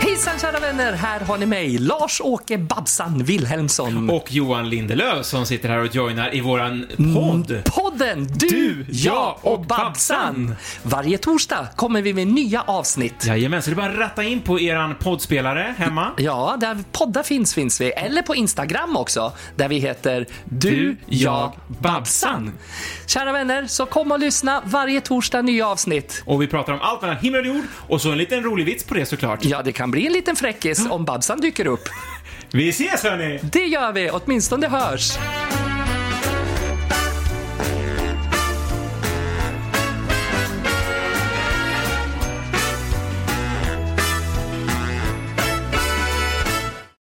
Hejsan kära vänner, här har ni mig, Lars-Åke Babsan Wilhelmsson. Och Johan Lindelöf som sitter här och joinar i våran podd. Mm. Podden Du, Du, jag och Babsan. Varje torsdag kommer vi med nya avsnitt. Jajamän, så det är bara att ratta in på eran poddspelare hemma. Ja, där poddar finns finns vi. Eller på Instagram också, där vi heter Du, Du, jag, jag, Babsan. Kära vänner, så kom och lyssna varje torsdag nya avsnitt. Och vi pratar om allt mellan himmel och jord och så en liten rolig vits på det såklart. Ja, det kan bli en liten fräckis om Babsan dyker upp. Vi ses hörni! Det gör vi, åtminstone hörs.